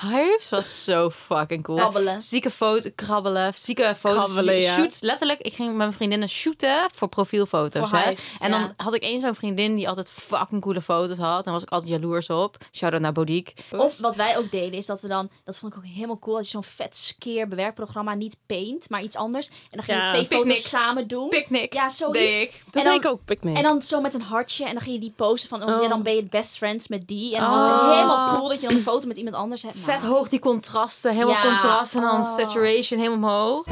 Speaker 3: Hives was zo fucking cool.
Speaker 7: Krabbelen.
Speaker 3: Zieke foto, krabbelen, zieke foto's.
Speaker 6: Krabbelen,
Speaker 3: zie-
Speaker 6: ja.
Speaker 3: Shoots, letterlijk. Ik ging met mijn vriendinnen shooten voor profielfoto's.
Speaker 7: Voor
Speaker 3: hè?
Speaker 7: hives,
Speaker 3: En
Speaker 7: ja.
Speaker 3: dan had ik eens zo'n vriendin die altijd fucking coole foto's had. En was ik altijd jaloers op. Shout-out naar Bodiek.
Speaker 7: Of wat wij ook deden is dat we dan, dat vond ik ook helemaal cool, dat je zo'n vet skeer bewerkprogramma, niet paint, maar iets anders. En dan ging je
Speaker 6: Ja,
Speaker 7: twee
Speaker 3: picknick.
Speaker 7: foto's samen doen.
Speaker 3: Picnic.
Speaker 7: Ja, zoiets.
Speaker 3: deed ik.
Speaker 6: Dat
Speaker 7: en dan,
Speaker 6: deed ik ook, picknick.
Speaker 7: En dan zo met een hartje en dan ging je die posten van, want ja,
Speaker 6: Oh.
Speaker 7: dan ben je best friends met die. En dan
Speaker 3: Oh.
Speaker 7: was het helemaal cool dat je dan een foto met iemand anders hebt.
Speaker 3: Vet
Speaker 7: Nou,
Speaker 3: hoog die contrasten. Helemaal
Speaker 7: Ja.
Speaker 3: contrast en dan
Speaker 7: Oh.
Speaker 3: saturation helemaal omhoog.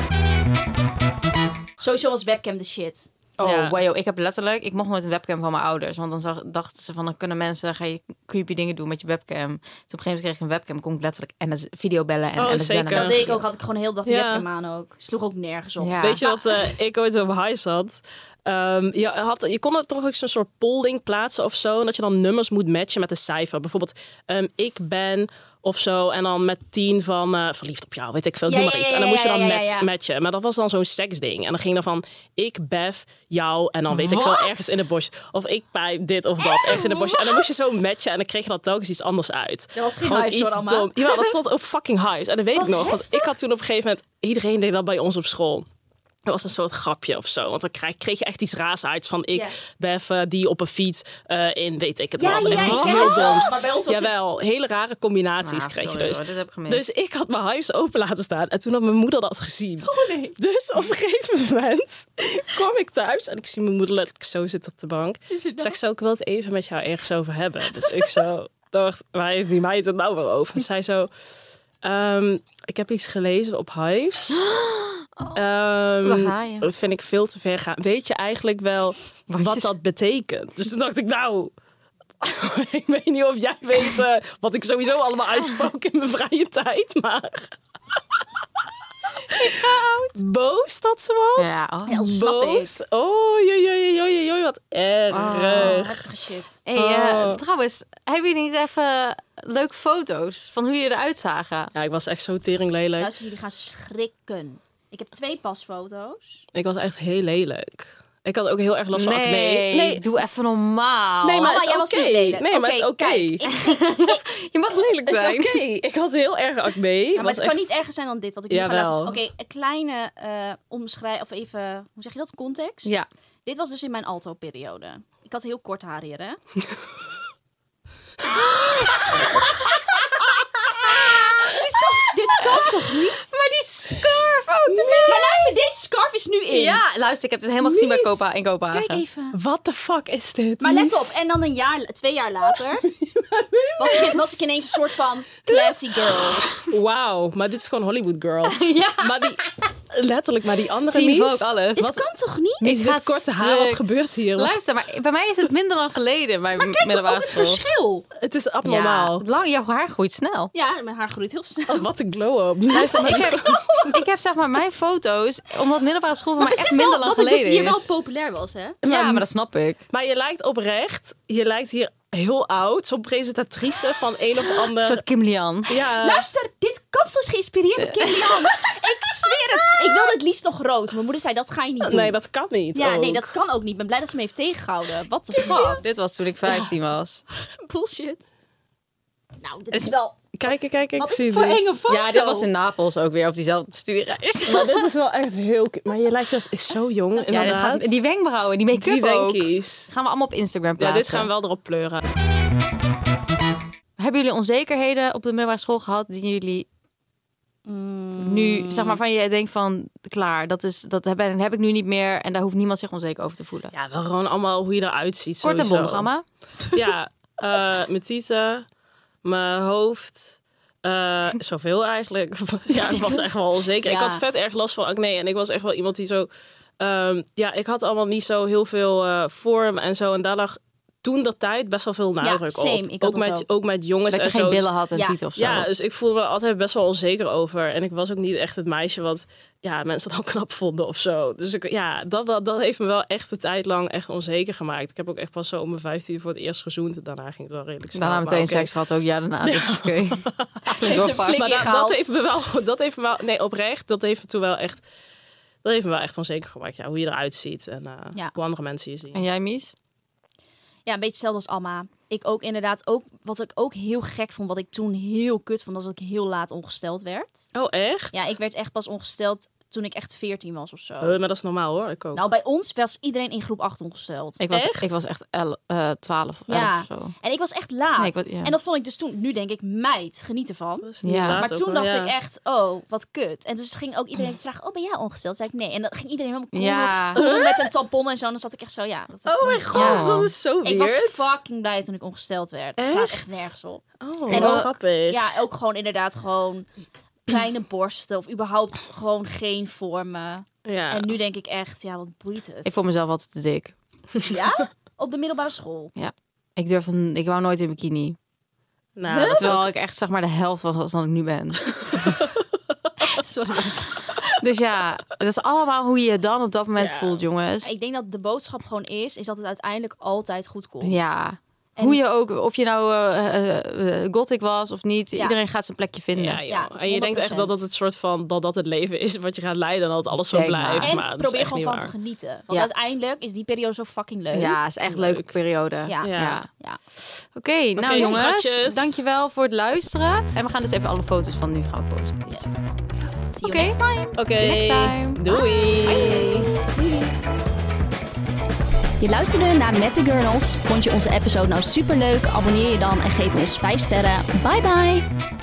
Speaker 7: Sowieso was webcam de shit.
Speaker 3: Oh,
Speaker 6: Ja.
Speaker 3: wow, ik heb letterlijk... Ik mocht nooit een webcam van mijn ouders. Want dan zag, dachten ze van... Dan kunnen mensen... Ga je creepy dingen doen met je webcam. Dus op een gegeven moment kreeg ik een webcam. Kon ik letterlijk MS, video bellen en
Speaker 6: Oh,
Speaker 3: MSN.
Speaker 6: zeker.
Speaker 7: Dat deed ik ook, had ik gewoon heel de dag die
Speaker 6: Ja.
Speaker 7: webcam aan ook. Sloeg ook nergens op.
Speaker 3: Ja.
Speaker 6: Weet je wat eh, ik ooit op Highs had? Ehm, je, had, je kon er toch ook zo'n soort polling plaatsen of zo. En dat je dan nummers moet matchen met een cijfer. Bijvoorbeeld, ehm, ik ben of zo. En dan met tien van eh, verliefd op jou, weet ik veel.
Speaker 7: Ja,
Speaker 6: Doe
Speaker 7: ja,
Speaker 6: maar
Speaker 7: ja,
Speaker 6: iets. En
Speaker 7: ja,
Speaker 6: dan moest je
Speaker 7: ja,
Speaker 6: dan
Speaker 7: ja,
Speaker 6: match-
Speaker 7: ja.
Speaker 6: matchen. Maar dat was dan zo'n seksding. En dan ging dan van ik, Bef, jou. En dan weet ik
Speaker 3: Wat?
Speaker 6: veel, ergens in de bos. Of ik, pijp, dit of dat. Ergens in de bos. En dan moest je zo matchen. En dan kreeg je dan telkens iets anders uit.
Speaker 7: Er was geen
Speaker 6: Gewoon
Speaker 7: Hives,
Speaker 6: iets
Speaker 7: hoor, Amma.
Speaker 6: dom. Jawel, dat stond op fucking Hives. En dat weet
Speaker 7: Wat
Speaker 6: ik nog. Want
Speaker 7: heftig.
Speaker 6: ik had toen op een gegeven moment... Iedereen deed dat bij ons op school. Dat was een soort grapje of zo. Want dan kreeg, kreeg je echt iets raars uit van ik,
Speaker 7: Ja.
Speaker 6: Bef, eh, die op een fiets eh, in weet ik het
Speaker 7: Ja,
Speaker 6: wat.
Speaker 7: ja,
Speaker 6: Echt
Speaker 7: ja,
Speaker 6: iets
Speaker 7: ja.
Speaker 6: heel doms.
Speaker 7: Maar bij ons was het-
Speaker 6: Jawel, hele rare combinaties
Speaker 3: Ah,
Speaker 6: kreeg je
Speaker 3: sorry
Speaker 6: dus.
Speaker 3: hoor, dit heb ik gemist.
Speaker 6: dus ik had mijn huis open laten staan en toen had mijn moeder dat gezien.
Speaker 7: Oh,
Speaker 6: Dus op een gegeven moment kwam ik thuis en ik zie mijn moeder letterlijk zo zitten op de bank. Ik zeg zo, ik wil het even met jou ergens over hebben. Dus ik zo dacht, waar heeft die meid het nou weer over? En zij zo, ehm, ik heb iets gelezen op Hives. Ehm,
Speaker 3: Daar ga je.
Speaker 6: dat vind ik veel te ver gaan. Weet je eigenlijk wel
Speaker 3: Wat
Speaker 6: wat,
Speaker 3: je-
Speaker 6: dat betekent? Dus toen dacht ik, nou, ik weet niet of jij weet eh, wat ik sowieso allemaal uitspook in mijn vrije tijd, maar. Boos dat ze was.
Speaker 3: Ja, oh.
Speaker 7: Heel snap ik.
Speaker 6: Boos. Oh, joi, joi, joi, joi, wat erg.
Speaker 7: Heftige shit.
Speaker 3: Hey, eh,
Speaker 6: Oh.
Speaker 3: trouwens, hebben jullie niet even leuke foto's van hoe jullie eruit zagen?
Speaker 6: Ja, ik was echt zo tering lelijk.
Speaker 7: Luister, jullie gaan schrikken. Ik heb twee pasfoto's.
Speaker 6: Ik was echt heel lelijk. Ik had ook heel erg last van acne.
Speaker 3: nee,
Speaker 6: nee,
Speaker 3: doe even normaal.
Speaker 6: nee, maar
Speaker 7: Mama,
Speaker 6: is
Speaker 7: Oh, jij
Speaker 6: oké.
Speaker 7: was niet lelijk.
Speaker 6: Nee, maar is
Speaker 7: Oké,
Speaker 6: oké.
Speaker 7: kijk,
Speaker 3: Je mag lelijk
Speaker 6: Het is
Speaker 3: zijn.
Speaker 6: oké. Ik had heel erg acne.
Speaker 7: Ja, Nou, maar
Speaker 6: Was
Speaker 7: het kan
Speaker 6: echt-
Speaker 7: niet erger zijn dan dit, wat ik nu ga
Speaker 6: Jawel.
Speaker 7: laten. Oké, een kleine eh omschrijf of even, hoe zeg je dat? Context.
Speaker 3: Ja.
Speaker 7: Dit was dus in mijn alto-periode. Ik had heel kort haar hier, hè? Is toch- dit kan toch niet?
Speaker 3: Maar die scarf
Speaker 7: Oh,
Speaker 3: ook.
Speaker 7: Maar luister, deze scarf is nu in.
Speaker 3: Ja, luister, ik heb dit helemaal gezien bij Copa in Kopenhagen.
Speaker 7: Kijk even.
Speaker 6: What the fuck is dit?
Speaker 7: Maar let op, en dan een jaar, twee jaar later was ik, was ik ineens een soort van classy girl.
Speaker 6: Wauw, maar dit is gewoon Hollywood Girl.
Speaker 7: Ja.
Speaker 6: Maar die, letterlijk, maar die andere
Speaker 3: Teen
Speaker 6: mies.
Speaker 3: Vogue, alles.
Speaker 7: Dit
Speaker 3: Wat-
Speaker 7: kan toch Eh, niet?
Speaker 6: Mies,
Speaker 3: Ik
Speaker 6: dit
Speaker 3: ga
Speaker 6: korte haar, wat
Speaker 3: stuk.
Speaker 6: gebeurt hier? Wat-
Speaker 3: Luister, maar bij mij is het minder dan geleden, mijn middelbare
Speaker 7: het
Speaker 3: school.
Speaker 7: verschil.
Speaker 6: het is
Speaker 3: Ja,
Speaker 6: abnormaal.
Speaker 3: lang, jouw haar groeit snel.
Speaker 7: Ja, mijn haar groeit heel snel.
Speaker 6: Wat een glow-up.
Speaker 3: Luister, ik heb, ik heb zeg maar mijn foto's, omdat middelbare school voor mij
Speaker 7: besef
Speaker 3: echt minder
Speaker 7: wel
Speaker 3: lang
Speaker 7: dat het
Speaker 3: geleden
Speaker 7: dus hier wel
Speaker 3: is.
Speaker 7: populair was, hè?
Speaker 3: Ja, maar dat snap ik.
Speaker 6: Maar je lijkt oprecht, je lijkt hier heel oud. Zo'n presentatrice van een of
Speaker 3: Een
Speaker 6: ander...
Speaker 3: soort Kim Lian.
Speaker 6: ja.
Speaker 7: Luister, dit kapsel is geïnspireerd op Kim Lian. ik zweer het. Ik wilde het liefst nog rood. Mijn moeder zei, dat ga je niet doen.
Speaker 6: Nee, dat kan niet. Oh.
Speaker 7: ja,
Speaker 6: ook.
Speaker 7: nee, dat kan ook niet. Ik ben blij dat ze me heeft tegengehouden. What the fuck?
Speaker 3: Dit was toen ik 15 was.
Speaker 7: Bullshit. Nou, dit is wel...
Speaker 6: Kijk, kijk, kijk, ik
Speaker 7: Wat is
Speaker 6: zie
Speaker 7: dit voor
Speaker 6: dit.
Speaker 7: enge foto?
Speaker 3: Ja, dit was in Napels ook weer op diezelfde stuurreis.
Speaker 6: Maar dit is wel echt heel... cute. Maar je lijkt dus is zo jong,
Speaker 3: Ja, dit
Speaker 6: inderdaad.
Speaker 3: gaat- die wenkbrauwen, die
Speaker 6: die
Speaker 3: make-up ook.
Speaker 6: wenkies.
Speaker 3: Gaan we allemaal op Instagram
Speaker 6: Ja,
Speaker 3: plaatsen.
Speaker 6: dit gaan we wel erop pleuren.
Speaker 3: Hebben jullie onzekerheden op de middelbare school gehad die jullie nu, zeg
Speaker 6: Mm.
Speaker 3: maar, van je denkt van, klaar, dat, is, dat heb, en heb ik nu niet meer en daar hoeft niemand zich onzeker over te voelen.
Speaker 6: Ja, wel gewoon allemaal hoe je eruit ziet.
Speaker 3: Kort en
Speaker 6: sowieso. Dus
Speaker 3: bondig, Amma.
Speaker 6: Ja, eh, mijn tieten, mijn hoofd. eh, zoveel eigenlijk. ja, ik was echt wel onzeker. Ik
Speaker 3: Ja.
Speaker 6: had vet erg last van acne. En ik was echt wel iemand die zo... ehm, ja, ik had allemaal niet zo heel veel eh, vorm en zo. En daar lag toen dat tijd best wel veel nadruk
Speaker 7: same.
Speaker 6: op.
Speaker 7: Ik had dat
Speaker 6: met,
Speaker 7: ook.
Speaker 6: met jongens
Speaker 3: Dat je
Speaker 6: en
Speaker 3: geen
Speaker 6: zo.
Speaker 3: billen had en
Speaker 7: Ja.
Speaker 3: tieten of zo.
Speaker 6: Ja, dus ik voelde me altijd best wel onzeker over. En ik was ook niet echt het meisje wat ja, mensen dan knap vonden of zo. Dus ik, ja, dat, wel- dat heeft me wel echt een tijd lang echt onzeker gemaakt. Ik heb ook echt pas zo om mijn 15 voor het eerst gezoend. Daarna ging het wel redelijk snel.
Speaker 3: Daarna
Speaker 6: maar
Speaker 3: meteen
Speaker 6: oké.
Speaker 3: seks gehad ook, ja, daarna. Dus oké.
Speaker 7: Heeft ze een
Speaker 3: Zorgpak.
Speaker 7: flik
Speaker 6: Maar dat,
Speaker 7: ingehaald.
Speaker 6: dat heeft me wel, dat heeft me wel, nee, oprecht, dat heeft me toen wel echt, dat heeft me wel echt onzeker gemaakt. Ja, hoe je eruit ziet en eh,
Speaker 7: Ja.
Speaker 6: hoe andere mensen je zien.
Speaker 3: En jij, Mies?
Speaker 7: Ja, een beetje hetzelfde als Alma. Ik ook inderdaad, ook, wat ik ook heel gek vond, wat ik toen heel kut vond, was dat ik heel laat ongesteld werd.
Speaker 6: Oh, echt?
Speaker 7: Ja, ik werd echt pas ongesteld toen ik echt 14 was of zo.
Speaker 6: Eh, maar dat is normaal hoor, ik ook.
Speaker 7: Nou, bij ons was iedereen in groep 8 ongesteld.
Speaker 3: Ik was
Speaker 7: echt?
Speaker 3: echt, ik was echt el, eh, 12 of 11
Speaker 7: Ja.
Speaker 3: of zo.
Speaker 7: En ik was echt laat.
Speaker 3: Nee, ik was- ja.
Speaker 7: En dat vond ik dus toen, nu denk ik, meid, geniet ervan.
Speaker 3: niet Ja. laat
Speaker 7: Maar
Speaker 6: ook,
Speaker 7: toen
Speaker 6: hoor,
Speaker 7: dacht
Speaker 6: ja.
Speaker 7: ik echt, oh, wat kut. En dus ging ook iedereen te vragen, oh, ben jij ongesteld? Zei ik nee. En dan ging iedereen helemaal cool
Speaker 3: Ja.
Speaker 7: doen, cool doen met een tampon en zo. En dan zat ik echt zo, ja. Dat
Speaker 6: Oh mijn god,
Speaker 3: Ja.
Speaker 6: dat is zo
Speaker 7: ik
Speaker 6: weird.
Speaker 7: was fucking blij toen ik ongesteld werd. Het slaat echt
Speaker 6: Echt?
Speaker 7: nergens op.
Speaker 6: Oh,
Speaker 7: En
Speaker 6: wat
Speaker 7: ook-
Speaker 6: grappig.
Speaker 7: Ja, ook gewoon inderdaad gewoon kleine borsten of überhaupt gewoon geen vormen.
Speaker 6: Ja.
Speaker 7: En nu denk ik echt, ja, wat boeit het?
Speaker 3: Ik vond mezelf altijd te dik.
Speaker 7: Ja? Op de middelbare school.
Speaker 3: Ik durfde, ik wou nooit in bikini.
Speaker 6: Nou, dat is wel...
Speaker 3: Terwijl ik echt zeg maar de helft was als dan ik nu ben. Sorry. Dus ja, dat is allemaal hoe je je dan op dat moment
Speaker 6: Ja.
Speaker 3: voelt, jongens.
Speaker 7: Ik denk dat de boodschap gewoon is, is dat het uiteindelijk altijd goed komt.
Speaker 3: Ja.
Speaker 7: En-
Speaker 3: Hoe je ook, of je nou eh, eh, eh, gothic was of niet,
Speaker 7: Ja.
Speaker 3: iedereen gaat zijn plekje vinden.
Speaker 6: Ja,
Speaker 7: Ja,
Speaker 6: joh. en je denkt echt
Speaker 7: 100%.
Speaker 6: dat dat het soort van dat dat het leven is wat je gaat leiden en dat alles zo
Speaker 3: Denk maar.
Speaker 6: blijft.
Speaker 7: En
Speaker 6: Maar dat is
Speaker 7: probeer
Speaker 6: echt
Speaker 7: gewoon
Speaker 6: niet
Speaker 7: van
Speaker 6: waar.
Speaker 7: te genieten. Want
Speaker 3: Ja.
Speaker 7: uiteindelijk is die periode zo fucking leuk.
Speaker 3: Ja, is echt een leuke periode.
Speaker 7: Ja.
Speaker 6: Ja.
Speaker 7: Ja.
Speaker 3: Oké, nou jongens,
Speaker 6: schatjes.
Speaker 3: dankjewel voor het luisteren. En we gaan dus even alle foto's van nu gaan posten.
Speaker 7: Yes. See you
Speaker 3: Oké.
Speaker 7: next time.
Speaker 6: Oké,
Speaker 3: See you next time.
Speaker 6: doei.
Speaker 7: Je luisterde naar Met de Gurnals. Vond je onze episode nou superleuk? Abonneer je dan en geef ons 5 sterren. Bye bye!